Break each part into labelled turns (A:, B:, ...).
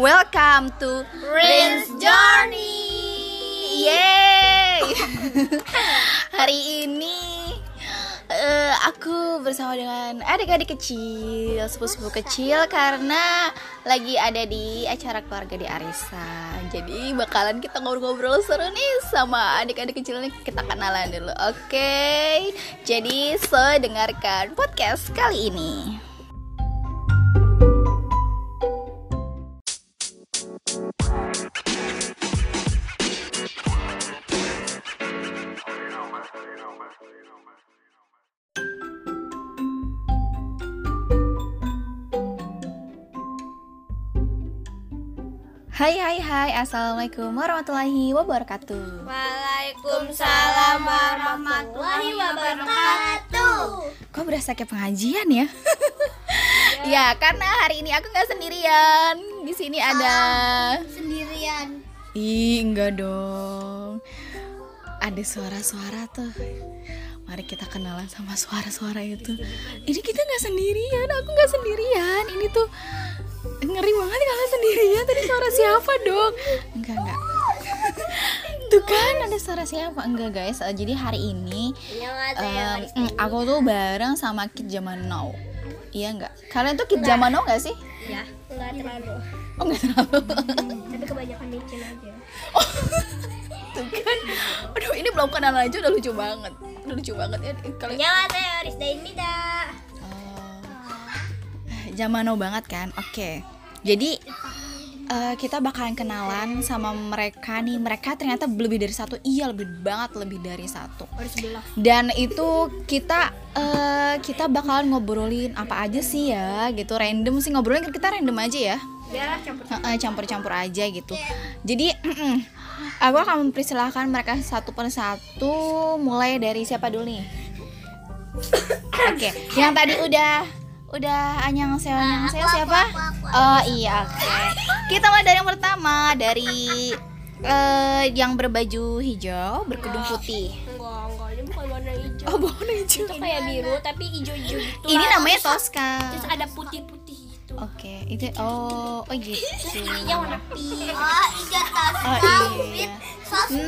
A: Welcome to
B: Prince Journey.
A: Yeay Hari ini eh, Aku bersama dengan adik-adik kecil Sepupu-sepupu kecil Karena lagi ada di acara keluarga di Arisa Jadi bakalan kita ngobrol-ngobrol seru nih Sama adik-adik kecil nih Kita kenalan dulu Oke Jadi so dengarkan podcast kali ini Hai hai hai Assalamualaikum warahmatullahi wabarakatuh
B: Waalaikumsalam warahmatullahi wabarakatuh.
A: Kok berasa kayak pengajian ya? ya, karena hari ini aku nggak sendirian. Di sini ada.
B: Sendirian.
A: Ih, enggak dong. Ada suara-suara tuh. Mari kita kenalan sama suara-suara itu. Ini kita nggak sendirian. Aku nggak sendirian. Ini tuh ngeri banget kalau sendirian. Tadi suara siapa dong? Enggak enggak. Tuh kan ada suara siapa? Enggak guys. Eh, Jadi hari ini
B: Annyeonghaseyo.
C: ya,
A: Em, mm, aku tuh bareng sama Kid Zaman Now. Iya nggak? Kalian tuh Kid Zaman Now nggak sih?
B: Ya, enggak terlalu.
A: Oh nggak terlalu.
B: Tapi kebanyakan licin aja.
A: Tuh kan. Aduh ini belum kenal aja udah lucu banget. Udah lucu banget ya kalau
B: Annyeonghaseyo, Rizda Inmida.
A: Eh, Zaman Now banget kan. Oke. Jadi eh, kita bakalan kenalan sama mereka nih. Mereka ternyata lebih dari satu. Iya lebih banget lebih dari satu.
B: Harus belah.
A: dan itu kita eh, kita bakalan ngobrolin apa aja sih ya gitu random sih ngobrolin kita random aja ya
B: Biarlah campur.
A: Heeh, campur-campur aja gitu jadi aku akan mempersilahkan mereka satu persatu mulai dari siapa dulu nih oke yang tadi udah udah anyang saya siapa oh iya oke kita mulai dari yang pertama dari eh, yang berbaju hijau berkedung putih
B: Enggak, enggak. Ini bukan warna hijau.
A: Oh, warna hijau.
B: Itu kayak biru tapi hijau-hijau gitu.
A: Ini
B: lah.
A: namanya Tosca.
B: Terus ada putih-putih gitu.
A: Oke, itu oh, oh gitu.
B: Ininya warna pink.
D: Oh, iya tas.
A: Oh iya.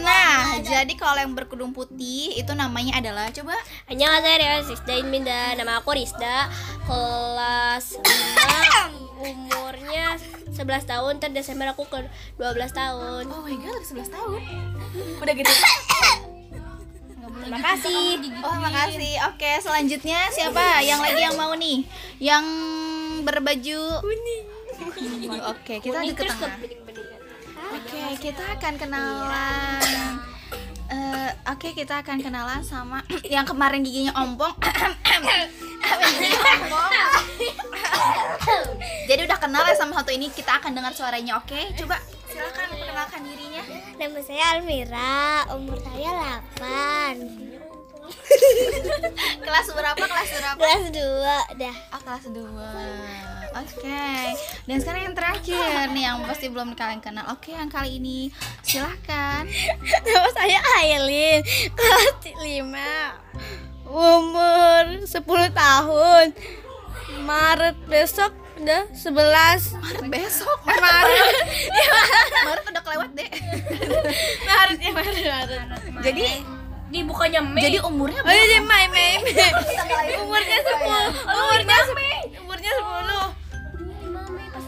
A: Nah, jadi kalau yang berkedung putih itu namanya adalah coba
B: Annyeonghaseyo, Rizda Inminda. Nama aku Rizda, kelas 5, umurnya 11 tahun, ntar Desember aku ke 12 tahun.
A: Oh my god, 11 tahun. Udah gitu.
B: Terima kasih.
A: Oh, makasih. Oke, selanjutnya siapa yang lagi yang mau nih? Yang berbaju kuning. Oke, kita
B: Ini
A: lanjut ke
B: terus ke
A: tengah. Oke, kita akan
D: Iya,
A: kenalan. Eh, Oke, kita akan kenalan sama yang kemarin giginya ompong. Jadi udah kenal ya sama satu ini, kita akan dengar suaranya. Oke, coba silakan perkenalkan dirinya.
D: Nama saya Almira, umur saya 8.
A: Kelas berapa? Kelas berapa?
D: Kelas 2 dah.
A: Oh, kelas 2. Oke. Dan sekarang yang terakhir nih yang pasti belum kalian kenal. Oke, yang kali ini silahkan
D: Nama saya Ailin, kelas 5. Umur 10 tahun. Maret besok udah 11.
A: Maret besok. Maret. Maret udah kelewat deh.
D: Maret ya Maret. Maret.
A: Jadi
B: Di bukannya Mei.
A: jadi umurnya
D: Oh iya, Mei, Mei, Mei. Umurnya
C: Iya,
D: 10. Umurnya 10. Umurnya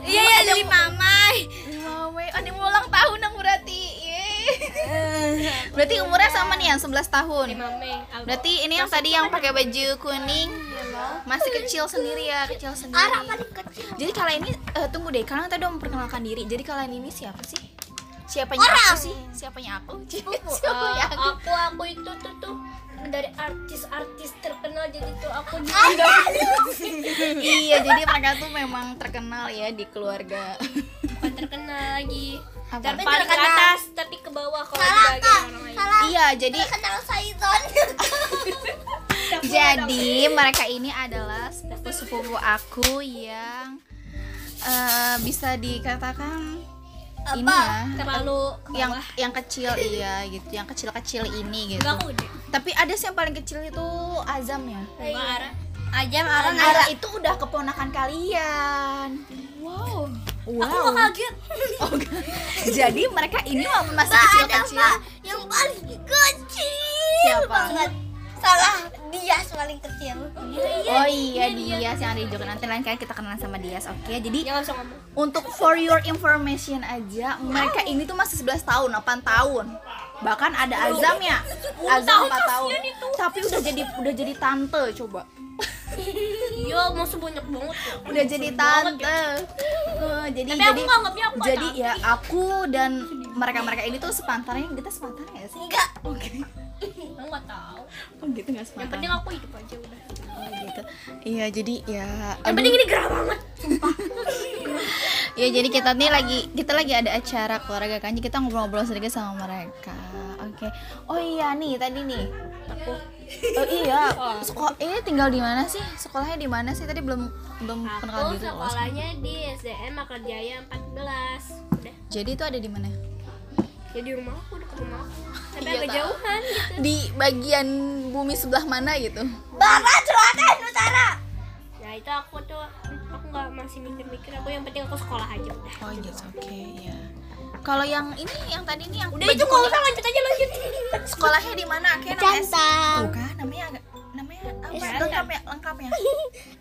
D: 10. Iya, iya, jadi mamai.
A: Wow, weh. oh, dia mau ulang tahun dong berarti. Yeay. Berarti umurnya sama nih yang 11 tahun.
B: Mei.
A: Berarti ini yang tadi yang pakai baju kuning masih kecil sendiri ya, kecil sendiri.
D: kecil.
A: Jadi kalian ini eh, tunggu deh, kalian tadi udah memperkenalkan diri. Jadi kalian ini siapa sih? Siapanya aku sih? Siapanya aku?
B: oh,
A: ya? Siapanya aku?
B: eh, aku aku itu tuh tuh dari artis-artis terkenal jadi tuh aku juga
A: iya, jadi mereka tuh memang terkenal ya di keluarga.
B: bukan terkenal lagi.
A: Apa?
B: Tapi paling ke
D: terkenal.
B: atas tapi ke bawah kalau dibagi orang lain.
D: Salah.
A: iya, jadi
D: Kenal Saizon.
A: Jadi mereka ini adalah sepupu-sepupu aku yang eh, bisa dikatakan ini ya
B: Terlalu
A: yang yang kecil iya gitu, yang kecil-kecil ini gitu.
B: enggak aku deh.
A: Tapi ada sih yang paling kecil itu Azam ya.
C: Iya.
B: Enggak arah.
D: Ajam
A: Ara itu udah keponakan kalian. Wow.
B: Aku
A: Wow.
B: mau kaget.
A: Jadi mereka ini mau masa
C: ada
A: kecil-kecil.
C: Pak yang paling kecil
A: Siapa?
C: banget. Salah dia paling kecil.
A: Oh iya Dias yang ada di Jogja. Nanti lain kali kita kenalan sama Dias, oke? Jadi
B: Jangan langsung ngomong.
A: untuk for your information aja, mereka ini tuh masih 11 tahun, 8 tahun. Bahkan ada Azamnya. Azam 4 tahun. Tapi udah jadi udah jadi tante coba.
B: Yo, musuh banyak banget. ya.
A: Udah jadi tante. Eh, jadi
B: Tapi aku
A: jadi
B: nganggapnya aku
A: jadi
B: tante.
A: ya aku dan mereka-mereka ini tuh sepantaran kita sepantaran ya sih?
C: Enggak.
A: Oke.
B: Aku nggak tahu.
A: Oh gitu nggak
B: Yang
A: sepantaran.
B: penting aku hidup aja udah.
A: Oh, gitu. Iya jadi ya.
B: Yang
A: aduh.
B: penting ini gerah banget.
A: Ya jadi kita nih lagi kita lagi ada acara keluarga kan jadi kita ngobrol-ngobrol sedikit sama mereka. Oke. Oh iya nih tadi nih. Oh iya. Sekolah ini tinggal di mana sih? Sekolahnya di mana sih? Tadi belum belum kenal
B: Aku
A: diri loh.
B: sekolahnya di SDN Makar Jaya 14. Udah.
A: Jadi itu ada di mana?
B: Ya di rumah aku, dekat rumah aku. Tapi
A: Iya,
B: agak
A: tahu.
B: jauhan gitu.
A: Di bagian bumi sebelah mana gitu?
C: Barat, selatan, utara.
B: Nah, itu aku tuh aku nggak masih mikir-mikir. Aku yang penting aku sekolah aja udah.
A: Oh gitu. Oke, ya. Kalau yang ini yang tadi nih yang
B: Udah itu nggak usah lanjut aja lanjut.
A: sekolahnya di mana? Kayak namanya
C: Cantang.
A: Tuh kan namanya agak namanya apa?
B: Iya.
A: Lengkap ya, lengkap ya.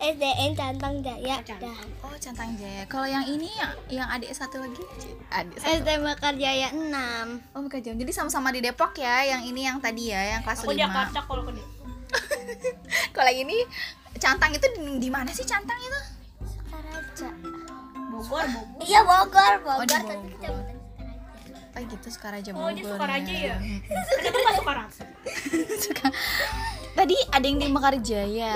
C: SDN Cantang Jaya. Dah.
A: Oh, Centang Jaya. Kalau yang ini ya, yang adik satu lagi, adik satu.
C: SDN Mekar Jaya 6.
B: Eh.
A: Oh, bukan jam. Jadi sama-sama di Depok ya. Yang ini yang tadi ya, yang kelas
B: Aku
A: 5.
B: Jakarta kalau ke dia.
A: Kalau yang ini Cantang itu di, di mana sih Cantang itu?
C: Sukaraja.
B: Bogor, Bogor.
C: Iya Bogor, Bogor,
A: Oh, di
C: tapi
A: Bogor.
C: kecamatan Sukaraja.
A: Oh, gitu Sukaraja
B: Oh, dia
A: Bogor Hmm.
B: Sukaraja ya. Kenapa nggak Sukaraja?
A: Suka- Tadi ada yang di Mekarjaya.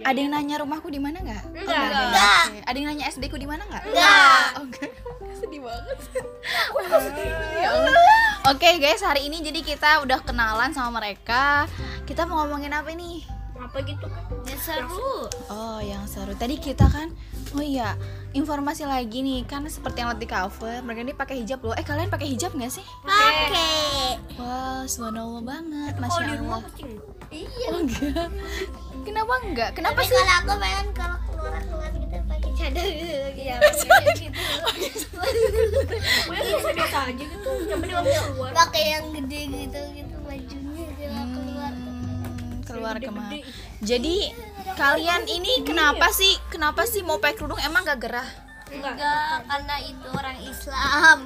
A: Ada yang nanya rumahku di mana nggak? Oh,
B: Enggak.
A: ada ya.
C: Enggak.
A: Oke. Ada yang nanya SD ku di mana nggak?
C: Enggak.
A: Oh, enggak. Sedih banget. Ya Allah. Oke guys, hari ini jadi kita udah kenalan sama mereka. Kita mau ngomongin apa nih?
B: Apa gitu kan? Ya seru.
A: Oh, yang seru. Tadi kita kan, oh iya, informasi lagi nih kan seperti yang lihat di cover, mereka ini pakai hijab loh. Eh kalian pakai hijab nggak sih?
C: Pakai.
A: Wah, subhanallah banget,
B: Kalau
A: masya
B: Oh, di rumah
A: Allah.
B: pasti enggak.
C: Iya.
A: Oh, enggak. Kenapa enggak? Kenapa
C: Tapi
A: sih?
C: kalau aku pengen kalau keluar keluar gitu pakai cadar gitu lagi
B: Iya,
C: ya. gitu.
B: Pokoknya biasa-biasa aja gitu. Yang penting aku keluar.
C: Pakai yang gede gitu gitu bajunya kalau keluar.
A: Hmm, keluar kemana?
B: Gede-gede.
A: Jadi ya? kalian ini kenapa sih? Kenapa sih mau pakai kerudung? Emang gak gerah?
B: Enggak.
C: Enggak, karena itu orang Islam.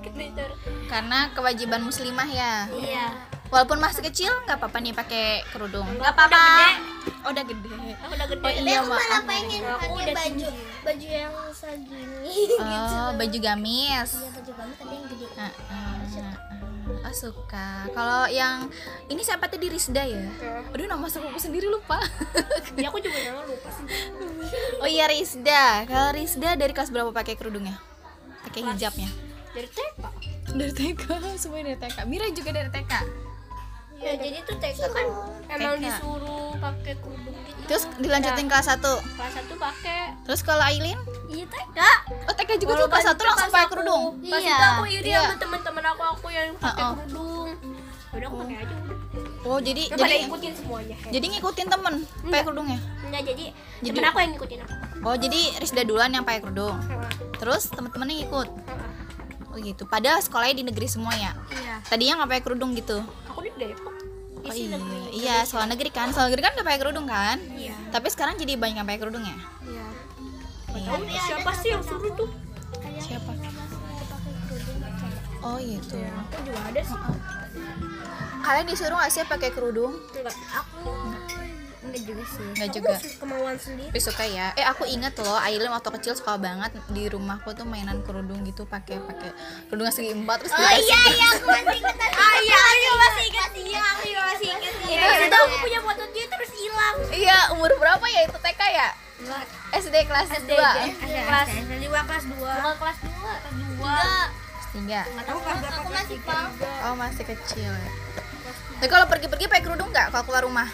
B: Ketidur.
A: Karena kewajiban muslimah ya.
C: Iya.
A: Walaupun masih kecil nggak apa-apa nih pakai kerudung.
B: Enggak apa-apa.
A: Oh, udah gede.
B: Aku udah gede.
A: Oh
C: Tapi
A: iya
C: aku malah
A: maaf.
C: pengen
B: Aku
C: pakai
B: udah
C: baju baju yang segini gitu.
A: Oh, baju gamis.
B: Oh.
C: Iya baju kamu tapi yang gede.
A: Ah, ah, ah. Oh suka. Kalau yang ini siapa tadi Rizda ya? Aduh nama sepupu sendiri lupa.
B: Ya aku juga jangan lupa sih.
A: oh iya Rizda. Kalau Rizda dari kelas berapa pakai kerudungnya? Pakai hijabnya?
B: Dari TK.
A: Dari TK, semuanya dari TK. Mira juga dari TK.
B: Ya jadi tuh TK kan emang
A: TK.
B: disuruh pakai kerudung gitu.
A: Terus dilanjutin kelas 1.
B: kelas satu pakai
A: Terus kalau Ailin?
C: Iya TK.
A: Oh TK juga tuh kelas 1 langsung pakai kerudung.
B: Pas
C: Iya.
B: itu aku iri
A: Iya.
B: sama teman-teman aku aku yang pakai
A: Uh-uh.
B: kerudung. Udah aku pakai aja udah.
A: Oh jadi
B: Gak pada
A: jadi
B: ikutin semuanya.
A: jadi ngikutin temen pakai kerudungnya.
B: Enggak jadi,
A: Jadi-
B: temen aku yang ngikutin aku.
A: Oh jadi Rizda duluan yang pakai kerudung.
B: Heeh.
A: Terus temen-temennya ikut.
B: Heeh.
A: Oh gitu. Padahal sekolahnya di negeri semua ya.
B: Iya.
A: Tadinya nggak pakai kerudung gitu.
B: Aku di Depok.
A: Oh iya, iya soal negeri kan, soal negeri kan nggak pakai kerudung kan?
B: Iya.
A: Tapi sekarang jadi banyak yang pakai kerudung ya.
B: Iya.
A: Iya.
B: Tahu siapa sih yang suruh tuh?
A: Siapa?
C: Pakai kerudung pakai.
A: Oh gitu.
B: Aku juga ada sih.
A: Kalian disuruh nggak sih pakai kerudung?
B: Enggak. Aku enggak juga sih.
A: Enggak
B: Aku
A: juga.
B: masih kemauan sendiri.
A: Tapi suka ya. Eh aku inget loh, Aileen waktu kecil suka banget di rumahku tuh mainan kerudung gitu pakai pakai kerudung yang segi empat terus
C: Oh iya iya aku masih ingat. Oh iya aku masih ingat. Iya aku juga masih ingat. Iya.
B: Terus itu aku punya fotonya terus hilang.
A: Iya, umur berapa ya itu TK ya? SD kelas 2
B: kelas dua kelas dua bukan kelas dua kelas dua
A: Tiga.
C: Aku, aku masih paham.
A: Oh masih kecil ya. Tapi kalau pergi-pergi pakai kerudung nggak kalau keluar rumah?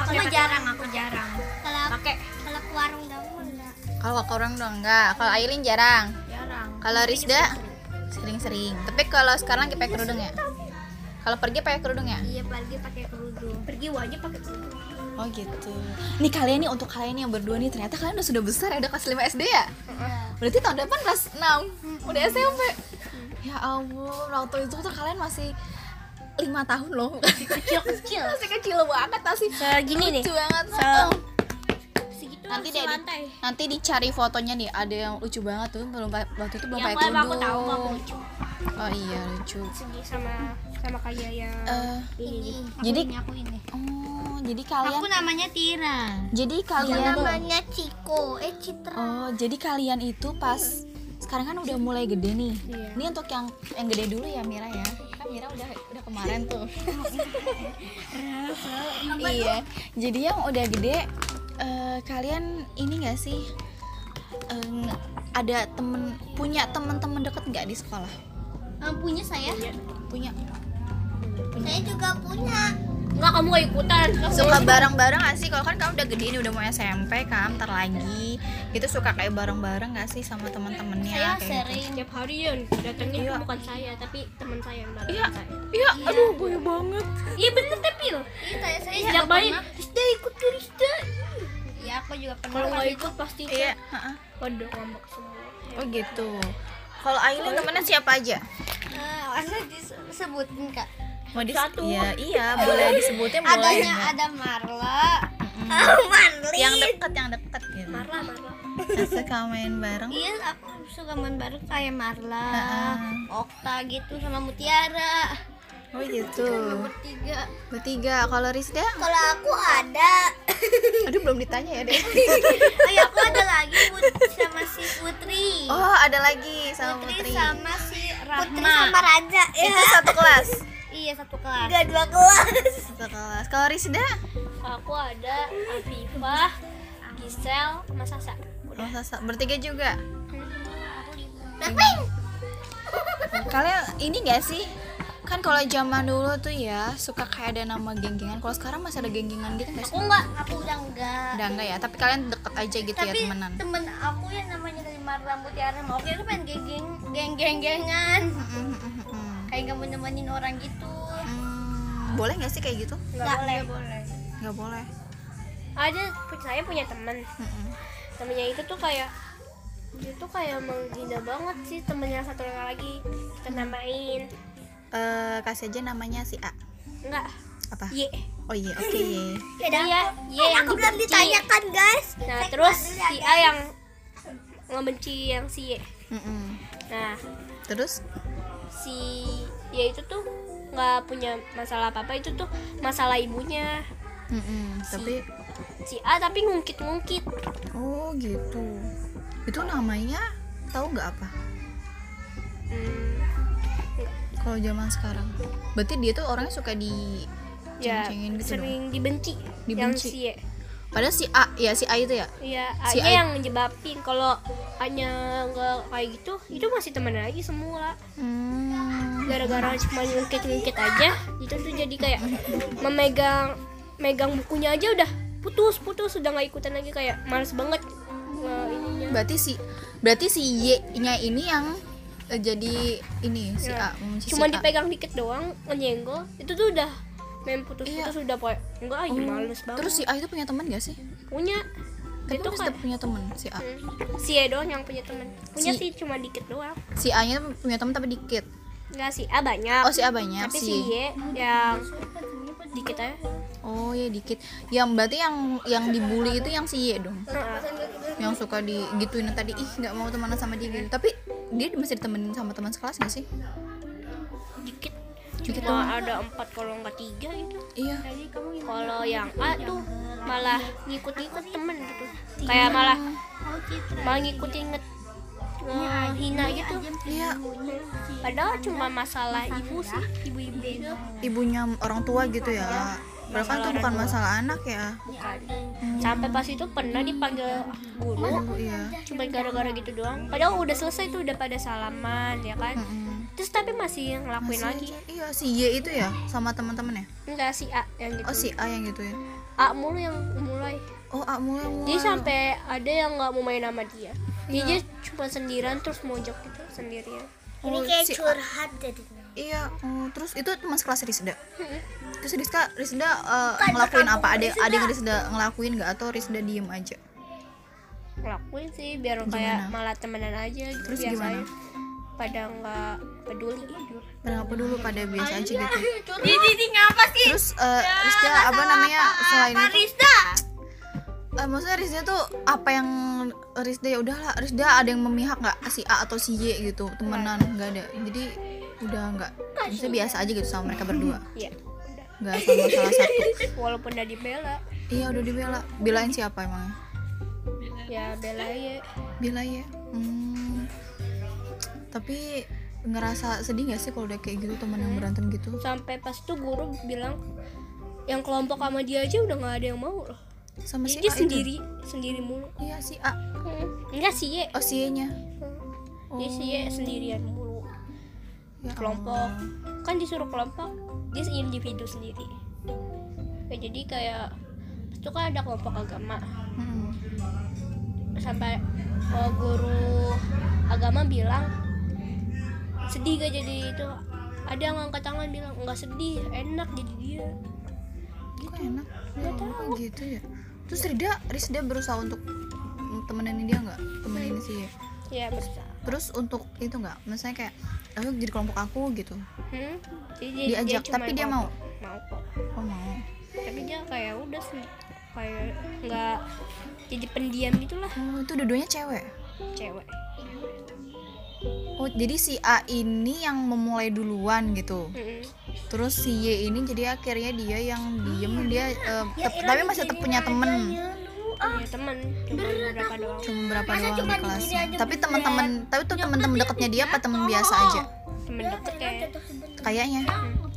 B: aku mah jarang aku jarang
C: Kalau
B: pakai
C: kalau ke warung kamu enggak.
A: Kalau ke orang dong enggak. Kalau Aileen jarang.
B: jarang
A: Kalau Rizda sering-sering. Tapi kalau sekarang lagi pakai kerudung ya? Kalau pergi pakai kerudung ya?
C: Iya pagi pakai kerudung.
A: kerudung.
C: Pergi wajib pakai kerudung.
A: Oh gitu. Nih kalian nih untuk kalian yang berdua nih ternyata kalian udah sudah besar ya udah kelas 5 SD ya? Berarti tahun depan kelas 6 udah SMP. Ya ampun, waktu itu tuh kalian masih lima tahun loh kecil kecil masih kecil banget masih
B: Segini nih.
A: lucu banget
B: Se-
A: Heeh.
B: segitu
A: nanti
B: langsung
A: deh di-
B: lantai.
A: nanti dicari fotonya nih ada yang lucu banget tuh belum pa- waktu itu belum
B: Yang
A: pakai
B: paling
A: kerudung
B: aku tahu aku lucu.
A: oh iya lucu
C: Segi sama sama kayak yang
A: Eh,
C: ini.
A: jadi
C: aku ini.
A: oh jadi kalian
C: namanya Tira. Iya,
A: jadi kalian
C: Namanya Ciko. Eh Citra.
A: oh jadi kalian itu pas sekarang kan udah mulai gede nih
B: Iya.
A: ini untuk yang yang gede dulu ya Mira ya kan Mira udah udah kemarin tuh iya jadi yang udah gede eh, kalian ini gak sih em, ada temen punya temen-temen deket nggak di sekolah
C: punya saya.
A: punya
C: Saya juga punya.
B: Enggak kamu gak ikutan. Kamu
A: suka bareng-bareng gak sih kalau kan kamu udah gede nih udah mau SMP kan ntar lagi itu suka kayak bareng-bareng gak sih sama temen-temennya
B: saya
A: kayak gitu.
B: sering tiap harian ya, datangnya
A: Iya.
B: bukan saya tapi teman saya yang datang.
A: Iya. Iya, aduh boy banget.
B: Iya bener tapi loh.
C: Iya, saya saya
B: Sejak bayi
C: Rizda ikut ke Rizda. Iya, aku juga pernah.
B: kalau nggak ikut pasti
A: Iya,
B: iya.
A: heeh.
B: waduh ngambek semua.
A: Oh gitu. Kalau Aileen temennya siapa aja?
C: Masa Eh, disebutin kak?
A: Mau di
B: Satu.
A: Iya, iya, boleh disebutin boleh.
C: Adanya ada Marla. Oh, Marli.
A: Yang deket, yang deket gitu.
B: Marah marah.
A: Suka main bareng.
C: Iya, aku suka main bareng kayak Marla,
A: Heeh.
C: Okta gitu sama Mutiara.
A: Oh gitu.
C: Bertiga.
A: Bertiga. Kalau Rizda?
C: Kalau aku ada,
A: Aduh belum ditanya ya deh.
C: oh ya, aku ada lagi Put- sama si Putri.
A: Oh ada lagi sama Putri.
C: Putri sama si Rahma. Putri sama Raja. Iya,
A: Itu satu kelas.
C: iya satu kelas. Gak dua kelas.
A: Satu kelas. Kalau Rizda?
B: Aku ada Afifah, Gisel, sama Sasa.
A: Oh, Sasa. Bertiga juga.
C: Tapi
A: kalian ini gak sih kan kalau zaman dulu tuh ya suka kayak ada nama geng-gengan kalau sekarang masih ada geng-gengan gitu gak sih
C: aku enggak, aku udah enggak.
A: udah enggak ya tapi kalian deket aja gitu ya
C: tapi
A: temenan
C: temen aku yang namanya dari Marla Mutiara mau oke aku pengen geng geng geng gengan
A: Mm, mm, mm, mm.
C: kayak nggak mau nemenin orang gitu
A: Hmm, boleh gak sih kayak gitu
C: nggak boleh boleh
A: nggak boleh
B: Ada saya punya teman.
A: Mm, mm.
B: temennya itu tuh kayak dia tuh kayak menghina banget sih temennya satu orang lagi kita namain
A: Eh, kasih aja namanya si A
B: enggak
A: apa
B: ye
A: oh iya oke ye.
C: Ya Iya.
B: dia ye
C: Eh,
B: yang dibenci.
C: guys
B: nah terus
C: ya.
B: si a yang ngebenci yang si ye
A: Mm, mm.
B: nah
A: terus
B: si ye itu tuh nggak punya masalah apa apa itu tuh masalah ibunya
A: Mm, mm. tapi
B: si a tapi ngungkit ngungkit
A: oh gitu itu namanya tahu nggak apa
B: hmm,
A: kalau zaman sekarang berarti dia tuh orangnya suka di
B: ya
A: Ceng-cengin gitu
B: sering dibenci, yang
A: Dibenci.
B: si ye
A: padahal si A ya si A itu ya
B: Iya,
A: Si
B: A-nya
A: Ai-
B: yang nyebabin kalau hanya nggak kayak gitu, itu masih temen lagi semula.
A: Hmm.
B: Gara-gara cuma ngungkit-ngungkit aja, itu tuh jadi kayak memegang megang bukunya aja udah putus putus udah nggak ikutan lagi kayak males banget nge- ininya.
A: Berarti si berarti si Y-nya ini yang eh, jadi ini si A.
B: Ya.
A: hmm, si
B: Cuma
A: si A.
B: dipegang dikit doang, nyenggol, itu tuh udah main putus-putus udah poy. Enggak, aja
A: Iya. Oh.
B: males banget.
A: Terus si A itu punya teman gak sih?
B: punya
A: Tapi
B: itu
A: itu
B: kan
A: punya teman si A.
B: Hmm, si E doang yang punya temen punya
A: Si-
B: sih cuma dikit doang
A: Si A-nya punya teman tapi dikit.
B: enggak si A banyak
A: Oh, si A banyak
B: tapi si
A: si.
B: Y yang dikit aja
A: Oh, ya dikit. Yang berarti yang yang dibully itu yang si Y dong. Yang suka digituin yang tadi ih nggak mau temenan sama dia gitu. Tapi dia masih ditemenin sama teman sekelas gak sih?
B: dikit
A: Dikit
B: cuma ada empat kalau nggak tiga gitu
A: Iya.
B: kalau yang A tuh malah ngikut-ngikut temen gitu kayak malah malah ngikutin nge
C: Oh,
B: ngehina gitu
A: Iya,
B: padahal cuma masalah ibu sih ibu-ibu
C: Iya.
B: itu
A: ibunya orang tua gitu ya. Padahal kan itu bukan masalah anak ya.
B: bukan sampai pas itu pernah dipanggil guru
A: Oh, iya.
B: cuma gara-gara gitu doang padahal udah selesai tuh udah pada salaman ya kan
A: Mm-mm.
B: terus tapi masih ngelakuin lagi
A: Masih aja. Iya, si Y itu ya sama teman-temannya.
B: enggak si A yang gitu
A: Oh si A yang gitu ya?
B: A mulu yang mulai
A: Oh A mulai mulai.
B: dia sampai ada yang nggak mau main sama dia dia, dia cuma sendirian terus mojok gitu sendirian
A: Oh, si A.
C: curhat jadi
A: Iya, oh, terus itu teman sekelas Rizda. Terus Rizda, Rizda eh, ngelakuin apa? Ada ada yang Rizda ngelakuin nggak atau Rizda diem aja?
B: ngelakuin sih biar kayak
A: Gimana?
B: malah temenan aja gitu
A: Terus
B: biasanya
A: gimana?
B: pada nggak peduli
A: Pada apa dulu pada biasa aja gitu.
C: Di di ngapa sih?
A: Terus eh, Rizda apa namanya selain
C: Apa
A: itu?
C: Rizda?
A: eh, maksudnya Rizda tuh apa yang Rizda ya udahlah Rizda ada yang memihak nggak si A atau si Y gitu temenan nggak ada. Jadi udah nggak. Rizda biasa aja gitu sama mereka berdua.
B: ya
A: Nggak sama salah satu.
B: walaupun udah dibela
A: Iya udah dibela. Belain siapa emangnya?
B: ya bela ya
A: Bella ya hmm. tapi ngerasa sedih gak sih kalau udah kayak gitu teman yang berantem gitu
B: sampai pas itu guru bilang yang kelompok sama dia aja udah nggak ada yang mau loh
A: sama si A
B: jadi Iya, dia
A: itu?
B: sendiri sendiri mulu
A: iya si A
B: enggak sih ya
A: oh si E nya
B: dia sih Ye sendirian
A: Oh.
B: mulu
A: ya
B: kelompok
A: Allah.
B: kan disuruh kelompok dia individu sendiri ya, jadi kayak itu kan ada kelompok agama
A: Mm-mm.
B: sampai oh, guru agama bilang sedih gak jadi itu ada yang angkat tangan bilang nggak sedih enak jadi dia
A: kok enak ya, Allah, gitu ya terus Rida Rizda berusaha untuk temenin dia nggak temenin si E
B: ya bisa
A: terus untuk itu nggak misalnya kayak aku jadi kelompok aku gitu
B: hmm? Jadi dia- dia
A: diajak
B: cuma
A: tapi dia mau
B: kelompok. mau kok
A: oh mau
B: tapi dia kayak udah sih kayak nggak jadi pendiam gitulah
A: oh itu dua-duanya cewek
B: cewek
A: oh jadi si A ini yang memulai duluan gitu
B: Mm-mm.
A: terus si Y ini jadi akhirnya dia yang diem dia eh, tep- tapi masih tetap punya
C: Hmm.
A: temen
C: Iya, ah.
B: punya teman cuma beberapa doang
A: cuma berapa doang di kelasnya tapi teman-teman tapi tuh teman-teman dekatnya dia apa teman biasa aja
B: teman deket ya. kayak
A: kayaknya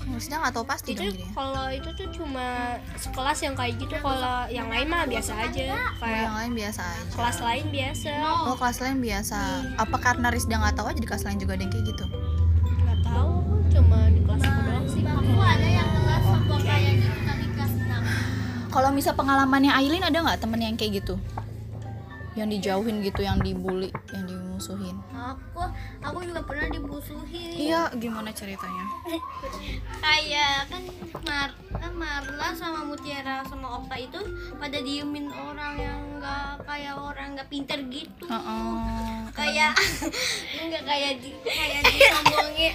A: maksudnya nggak tahu pasti
B: itu
A: dong dia
B: kalau itu tuh cuma sekelas yang kayak gitu kalau yang lain mah biasa aja
A: Oh,
B: kayak
A: yang lain biasa aja
B: kelas lain biasa
A: oh kelas lain biasa apa karena Rizda nggak tahu aja di kelas lain juga ada yang kayak gitu
B: nggak tahu cuma di kelas aku doang sih
C: Aku ada yang kelas sama kayak gitu tadi kelas enam.
A: kalau misal pengalamannya Aileen ada nggak temen yang kayak gitu yang dijauhin gitu yang dibully yang dimusuhin
C: Aku aku juga pernah dibusuhin.
A: iya gimana ceritanya
C: kayak kan Mar kan Marla sama Mutiara sama Okta itu pada diemin orang yang nggak kayak orang nggak pinter gitu
A: Heeh.
C: kayak nggak kayak di kayak disombongin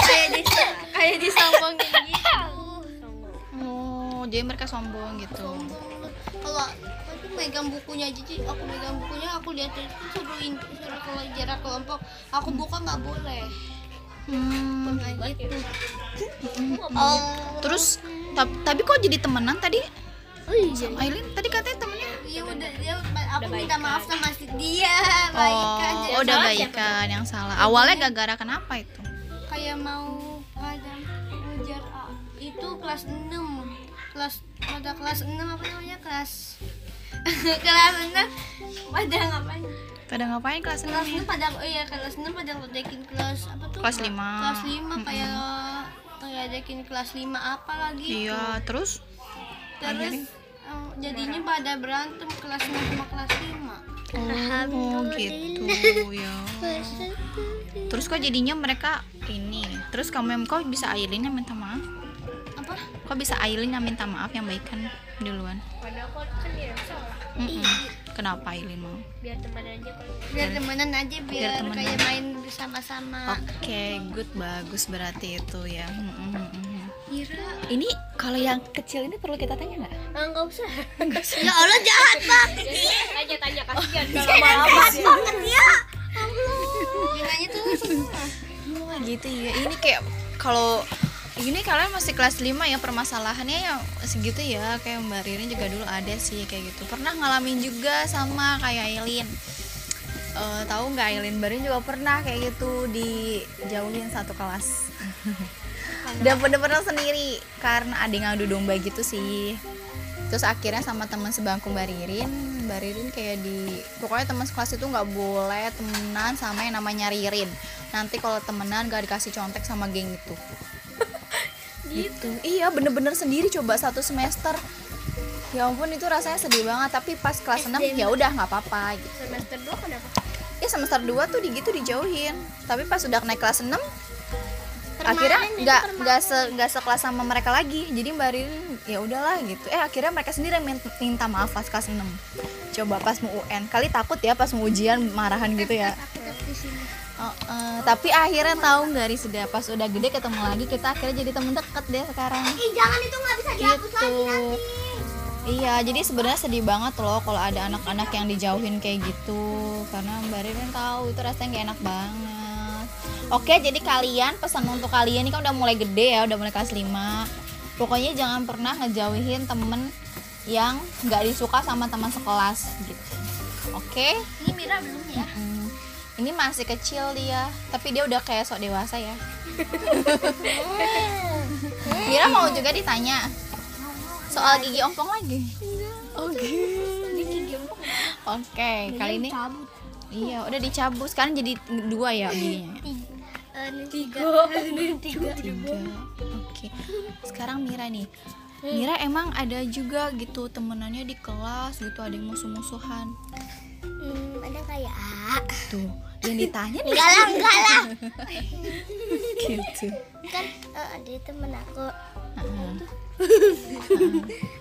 C: kayak di kayak disombongin gitu
A: Oh, jadi mereka sombong gitu.
C: kalau aku megang bukunya aja Ci. aku megang bukunya aku lihat itu suruhin suruh kalau jarak kelompok aku buka nggak boleh
A: Hmm.
C: pernah gitu oh
A: Terus ta- tapi kok jadi temenan tadi?
B: iya
A: Sama Aileen tadi katanya temennya
C: Iya udah dia aku minta
B: baikan.
C: maaf sama si dia baikan
A: Oh,
C: jadi
A: udah baikan yang salah. Awalnya gara-gara kenapa itu?
C: kayak mau ada ngejar A. itu kelas 6 kelas pada kelas 6 apa namanya kelas kelas 6 pada ngapain
A: Pada ngapain kelas
C: kelas
A: 6
C: 6 pada oh iya kelas 6 pada ngedekin kelas apa tuh
A: Kelas lima.
C: kelas 5 kayak ngedekin kelas 5 apa lagi
A: Iya, terus
C: terus eh, jadinya pada berantem kelas 6 sama kelas 5
A: Oh, gitu ya. Terus kok jadinya mereka ini. Terus kamu yang kok bisa Aileen yang minta maaf?
C: apa
A: Kok bisa Aileen yang minta maaf yang baikan duluan?
B: padahal kok kan dia yang salah
A: Mm-mm. Kenapa Aileen mau?
B: biar teman aja kalau
C: biar temenan aja biar,
A: temenan.
C: kayak main bersama-sama
A: Oke, good, bagus berarti itu ya. Mm, mm, mm, mm.
C: Ira
A: Ini kalau yang kecil ini perlu kita tanya nggak?
B: ah nggak usah
C: ya Allah jahat banget
B: tanya tanya kasihan kalau mau
E: Iya.
C: ya Allah bilangnya tuh susah.
A: Wah gitu ya. Ini kayak kalau ini kalian masih kelas 5 ya permasalahannya ya segitu ya kayak Mbak Riri juga dulu ada sih kayak gitu. Pernah ngalamin juga sama kayak Eileen. Eh, tahu nggak Eileen Mbak Riri juga pernah kayak gitu dijauhin satu kelas. Dan bener-bener sendiri karena ada yang ngadu domba gitu sih. Terus akhirnya sama teman sebangku Mbak Ririn, Mbak Ririn kayak di pokoknya teman sekelas itu nggak boleh temenan sama yang namanya Ririn. Nanti kalau temenan gak dikasih contek sama geng itu. gitu. Iya, bener-bener sendiri coba satu semester. Ya ampun itu rasanya sedih banget, tapi pas kelas 6 ya udah nggak apa-apa gitu.
B: semester dua kan kenapa
A: Ya semester 2 tuh di gitu dijauhin. Tapi pas udah naik kelas 6 akhirnya nggak nggak se nggak sekelas sama mereka lagi jadi mbak Ririn ya udahlah gitu eh akhirnya mereka sendiri yang min- minta maaf pas kelas 6 coba pas mau UN kali takut ya pas mau ujian marahan gitu ya Oh, eh, tapi akhirnya tahu nggak Riz udah pas udah gede ketemu lagi kita akhirnya jadi temen deket deh sekarang
E: Ih, jangan itu nggak bisa dihapus
A: gitu
E: lagi ya. nanti.
A: iya jadi sebenarnya sedih banget loh kalau ada anak-anak yang dijauhin kayak gitu karena mbak Ririn tahu itu rasanya nggak enak banget oke jadi kalian pesan untuk kalian ini kan udah mulai gede ya udah mulai kelas 5 pokoknya jangan pernah ngejauhin temen yang nggak disuka sama teman sekelas gitu oke
E: Ini Mira belum ya?
A: Mm. ini masih kecil dia tapi dia udah kayak sok dewasa ya
E: Eh. Hmm.
A: Mira mau juga ditanya soal gigi ompong lagi oke oke kali ini iya udah dicabut sekarang jadi dua ya giginya
E: Eh,
A: tiga tiga oke sekarang Mira nih Mira emang ada juga gitu temenannya di kelas gitu ada yang musuh-musuhan
E: Hmm, ada kayak
A: tuh yang ditanya nih
E: enggak lah enggak lah
A: gitu
E: kan eh, ada temen aku
A: Heeh.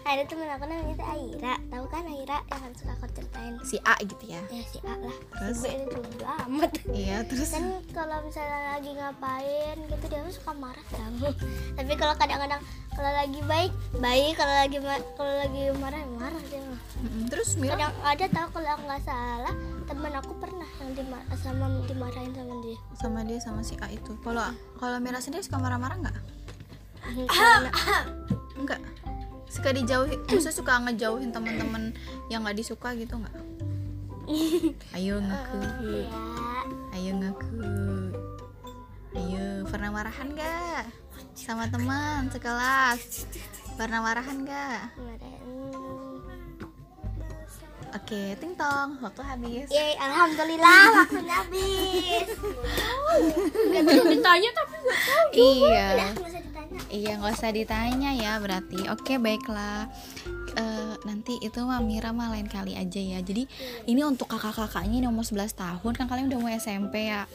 E: ada temen aku namanya tuh Aira tahu kan Aira yang kan suka aku ceritain
A: si A gitu ya
E: ya si A lah
A: Terus?
E: si B itu bodo amat
A: iya terus
E: kan kalau misalnya lagi ngapain gitu dia tuh suka marah kamu tapi kalau kadang-kadang kalau lagi baik baik kalau lagi ma- kalau lagi marah ya marah dia mah.
A: Mm-mm. terus Mira
E: kadang ada tahu kalau aku nggak salah temen aku pernah yang dimar sama dimarahin sama dia
A: sama dia sama si A itu kalau kalau Mira sendiri suka marah-marah nggak nggak suka dijauhin maksudnya suka ngejauhin teman-teman yang nggak disuka gitu nggak ayo ngaku
E: ya
A: ayo ngaku ayo pernah marahan nggak sama teman sekelas pernah marahan nggak
E: kemarin
A: oke ting tong waktu habis
C: Ya
E: Yeay, alhamdulillah waktunya habis.
A: iya
E: Nggak usah ditanya.
A: Iya nggak usah ditanya ya berarti Oke baiklah Eh, Nanti itu mah Mira mah lain kali aja ya Jadi ini untuk kakak-kakaknya yang umur 11 tahun Kan kalian udah mau SMP ya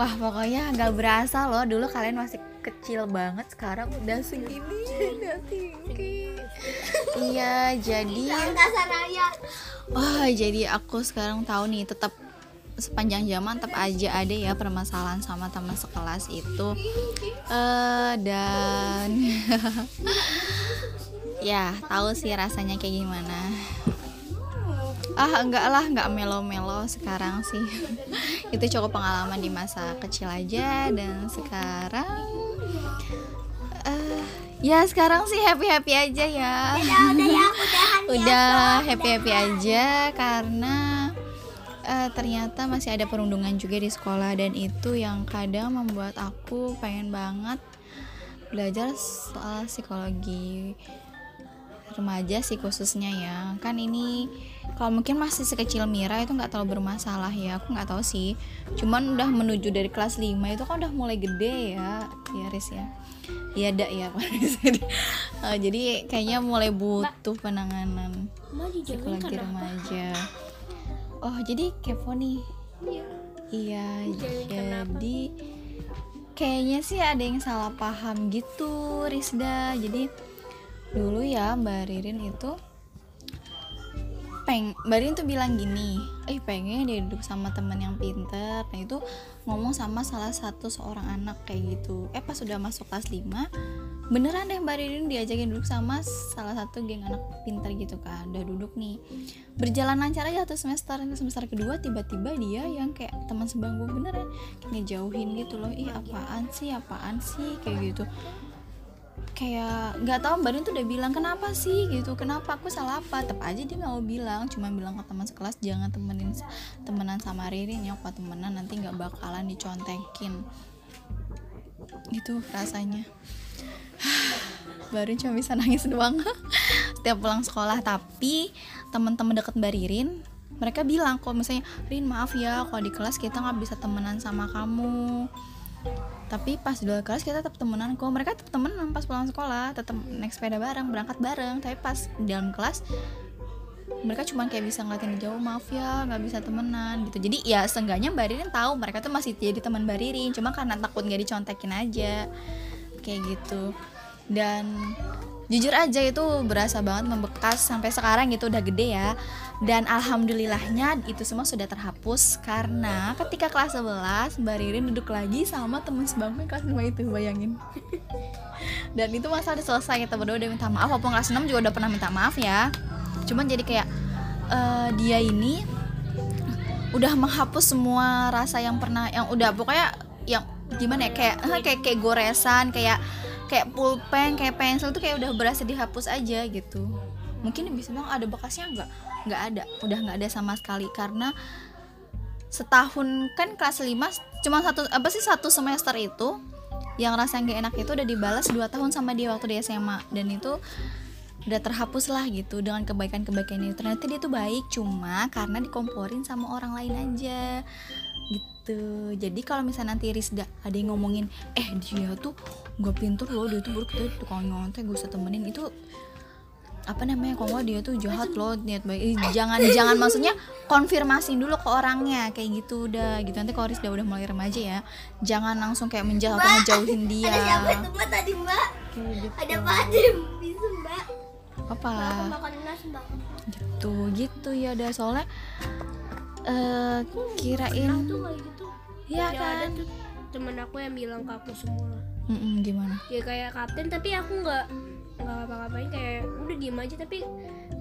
A: Wah pokoknya nggak berasa loh Dulu kalian masih kecil banget Sekarang udah segini udah tinggi. Iya jadi Wah jadi aku sekarang tahu nih tetap sepanjang zaman tetap aja ada ya permasalahan sama teman sekelas itu eh dan ya tahu sih rasanya kayak gimana ah enggak lah enggak melo-melo sekarang sih itu cukup pengalaman di masa kecil aja dan sekarang eh ya sekarang sih happy happy aja ya
E: Udah ya, udahan ya.
A: udah happy happy aja karena eh, ternyata masih ada perundungan juga di sekolah dan itu yang kadang membuat aku pengen banget belajar soal psikologi remaja sih khususnya ya kan ini kalau mungkin masih sekecil Mira itu nggak terlalu bermasalah ya aku nggak tahu sih cuman udah menuju dari kelas 5 itu kan udah mulai gede ya ya Riz ya iya dak ya Pak Riz. Eh, jadi kayaknya mulai butuh penanganan
B: Mah dijauhin
A: psikologi
B: karena
A: remaja oh jadi kepo nih iya jadi kayaknya sih ada yang salah paham gitu Rizda jadi dulu ya Mbak Ririn itu peng Mbak Ririn tuh bilang gini eh pengen dia duduk sama temen yang pinter nah itu ngomong sama salah satu seorang anak kayak gitu eh pas sudah masuk kelas 5 beneran deh Mbak Ririn diajakin duduk sama salah satu geng anak pinter gitu kan udah duduk nih berjalan lancar aja satu semester semester kedua tiba-tiba dia yang kayak teman sebangku beneran kayak ngejauhin gitu loh ih apaan sih apaan sih kayak gitu kayak nggak tahu mbak Rin tuh udah bilang kenapa sih gitu kenapa aku salah apa tetap aja dia nggak mau bilang cuma bilang ke teman sekelas jangan temenin temenan sama Ririn ya kalau temenan nanti nggak bakalan dicontekin gitu rasanya baru cuma bisa nangis doang setiap pulang sekolah tapi teman-teman deket Mbak Ririn mereka bilang kok misalnya Rin maaf ya kalau di kelas kita nggak bisa temenan sama kamu tapi pas di luar kelas kita tetap temenan kok mereka tetap temenan pas pulang sekolah tetap naik sepeda bareng berangkat bareng tapi pas di dalam kelas mereka cuma kayak bisa ngeliatin jauh maaf ya nggak bisa temenan gitu jadi ya seenggaknya mbak Ririn tahu mereka tuh masih jadi teman mbak Ririn cuma karena takut nggak dicontekin aja kayak gitu dan jujur aja itu berasa banget membekas sampai sekarang gitu udah gede ya dan alhamdulillahnya itu semua sudah terhapus karena ketika kelas 11 Mbak Ririn duduk lagi sama temen sebangku yang kelas 5 itu bayangin dan itu masalah udah selesai kita berdua udah minta maaf walaupun kelas 6 juga udah pernah minta maaf ya cuman jadi kayak eh, dia ini udah menghapus semua rasa yang pernah yang udah pokoknya yang gimana ya kayak kayak kayak goresan kayak kayak pulpen kayak pensil tuh kayak udah berasa dihapus aja gitu mungkin bisa bilang ada bekasnya nggak nggak ada udah nggak ada sama sekali karena setahun kan kelas 5 cuma satu apa sih satu semester itu yang rasa yang gak enak itu udah dibalas dua tahun sama dia waktu di SMA dan itu udah terhapus lah gitu dengan kebaikan-kebaikan itu ternyata dia tuh baik cuma karena dikomporin sama orang lain aja gitu jadi kalau misalnya nanti Rizda ada yang ngomongin eh dia tuh nggak pinter loh dia tuh buruk dia tukang nyontek gue usah temenin itu apa namanya kok nggak dia tuh jahat loh niat baik Ih, jangan jangan maksudnya konfirmasiin dulu ke orangnya kayak gitu udah gitu nanti kalau Rizda udah mulai remaja ya jangan langsung kayak menjauh atau ngejauhin dia
E: mbak tadi mbak?
A: Kayak gitu.
E: Ada Pak Adim, bisa mbak?
A: apa
E: Makan nasi mbak.
A: gitu gitu ya udah soalnya eh kirain ya
C: Iya
B: Yang gitu. ada
A: kan
B: tuh temen aku yang bilang ke aku semua
A: Mm-mm, gimana
B: ya kayak kapten tapi aku nggak nggak ngapa-ngapain kayak udah diem aja tapi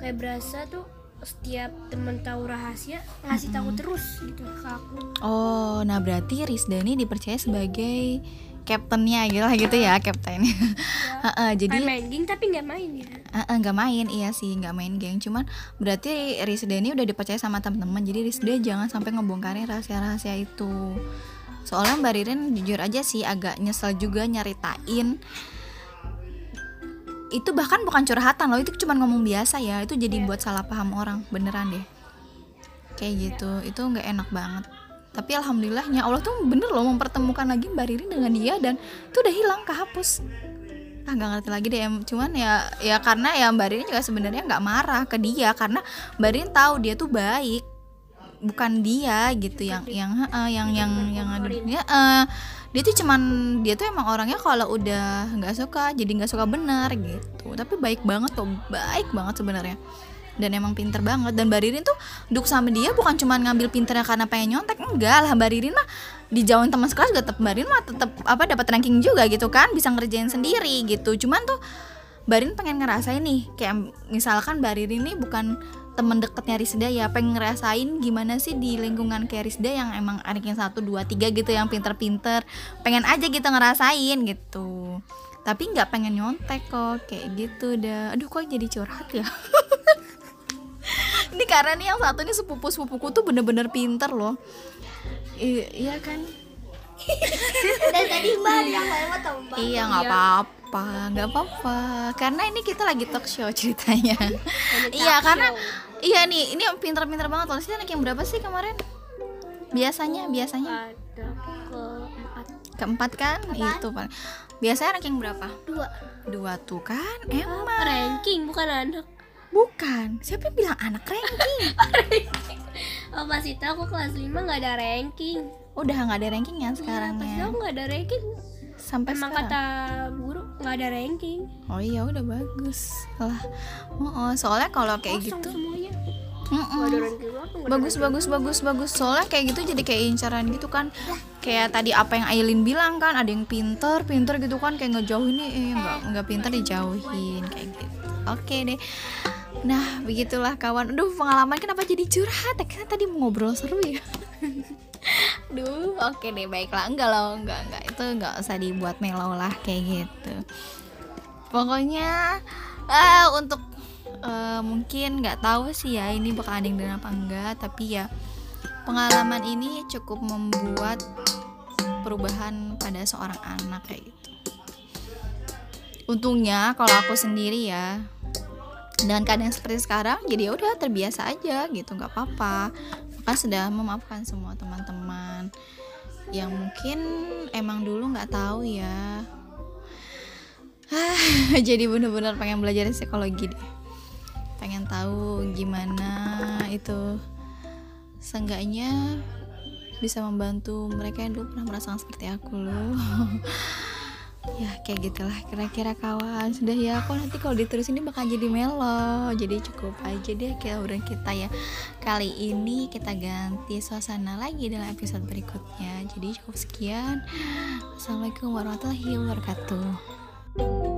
B: kayak berasa tuh setiap temen tahu rahasia ngasih tahu terus gitu ke aku
A: oh nah berarti Rizda ini dipercaya sebagai captainnya gitu lah gitu ya captainnya Heeh, jadi
B: kayak main game tapi nggak main ya
A: Eh, eh, nggak main iya sih nggak main geng cuman berarti Rizda ini udah dipercaya sama teman-teman jadi Rizda jangan sampai ngebongkarin rahasia-rahasia itu soalnya Mbak Ririn jujur aja sih agak nyesel juga nyeritain itu bahkan bukan curhatan loh itu cuma ngomong biasa ya itu jadi buat salah paham orang beneran deh kayak gitu itu nggak enak banget tapi alhamdulillahnya Allah tuh bener loh mempertemukan lagi Mbak Ririn dengan dia dan itu udah hilang kehapus ah nggak ngerti lagi deh em. cuman ya ya karena ya mbak Rin juga sebenarnya nggak marah ke dia karena mbak Rin tahu dia tuh baik bukan dia gitu yang yang heeh, yang yang yang ada dia eh, dia tuh cuman dia tuh emang orangnya kalau udah nggak suka jadi nggak suka bener gitu tapi baik banget tuh baik banget sebenarnya dan emang pinter banget dan Mbak Ririn tuh duduk sama dia bukan cuman ngambil pinternya karena pengen nyontek enggak lah Mbak Ririn mah dijauhin teman sekelas juga tetap Mbak Ririn mah tetap apa dapat ranking juga gitu kan bisa ngerjain sendiri gitu cuman tuh Mbak Ririn pengen ngerasain nih kayak misalkan Mbak Ririn ini bukan temen deketnya Rizda ya pengen ngerasain gimana sih di lingkungan kayak Rizda yang emang ranking 1, 2, 3 gitu yang pinter-pinter pengen aja gitu ngerasain gitu tapi nggak pengen nyontek kok kayak gitu dah aduh kok jadi curhat ya ini karena nih yang satu ini sepupu sepupuku tuh bener-bener pinter loh I- iya kan
E: Dan tadi mbak yang paling mau tahu mbak.
A: iya nggak apa-apa nggak apa-apa karena ini kita lagi talk show ceritanya iya
B: ya
A: karena iya nih ini pinter-pinter banget loh sih anak yang berapa sih kemarin biasanya biasanya
B: ada keempat
A: keempat kan itu paling biasanya ranking berapa dua dua tuh kan emang
B: ranking bukan anak
A: bukan siapa yang bilang anak ranking
B: oh pas itu aku kelas 5 nggak ada ranking
A: udah nggak ada rankingnya
B: Nah,
A: sekarang
B: pas itu
A: ya
B: aku nggak ada ranking
A: sampai
B: emang
A: sekarang
B: kata guru nggak ada ranking
A: Oh iya udah bagus lah. Oh, oh, soalnya kalau kayak
B: kosong
A: gitu,
B: semuanya
A: Mm-mm.
B: nggak ada ranking aku nggak ada
A: bagus bagus bagus bagus. Soalnya kayak gitu jadi kayak incaran gitu kan.
B: Ya.
A: Kayak tadi apa yang Aileen bilang kan, ada yang pinter pinter gitu kan kayak ngejauhin nih, eh, nggak nggak pinter dijauhin kayak gitu. Oke deh. Nah begitulah kawan. Aduh pengalaman kenapa jadi curhat? Ya, Kita tadi mau ngobrol seru ya. Duh, oke deh baiklah enggak lah enggak enggak itu enggak usah dibuat melo lah kayak gitu pokoknya eh untuk eh, mungkin nggak tahu sih ya ini bakal ada yang dengar apa enggak tapi ya pengalaman ini cukup membuat perubahan pada seorang anak kayak gitu untungnya kalau aku sendiri ya dengan keadaan seperti sekarang jadi ya udah terbiasa aja gitu nggak apa-apa maka sudah memaafkan semua teman-teman yang mungkin emang dulu nggak tahu ya Ah, jadi bener-bener pengen belajar psikologi deh pengen pengen tahu gimana itu seenggaknya bisa membantu mereka yang dulu pernah merasakan seperti aku loh ya kayak gitulah kira-kira kawan sudah ya kok nanti kalau diterusin ini bakal jadi melo jadi cukup aja deh kayak obrolan kita ya kali ini kita ganti suasana lagi dalam episode berikutnya jadi cukup sekian assalamualaikum warahmatullahi wabarakatuh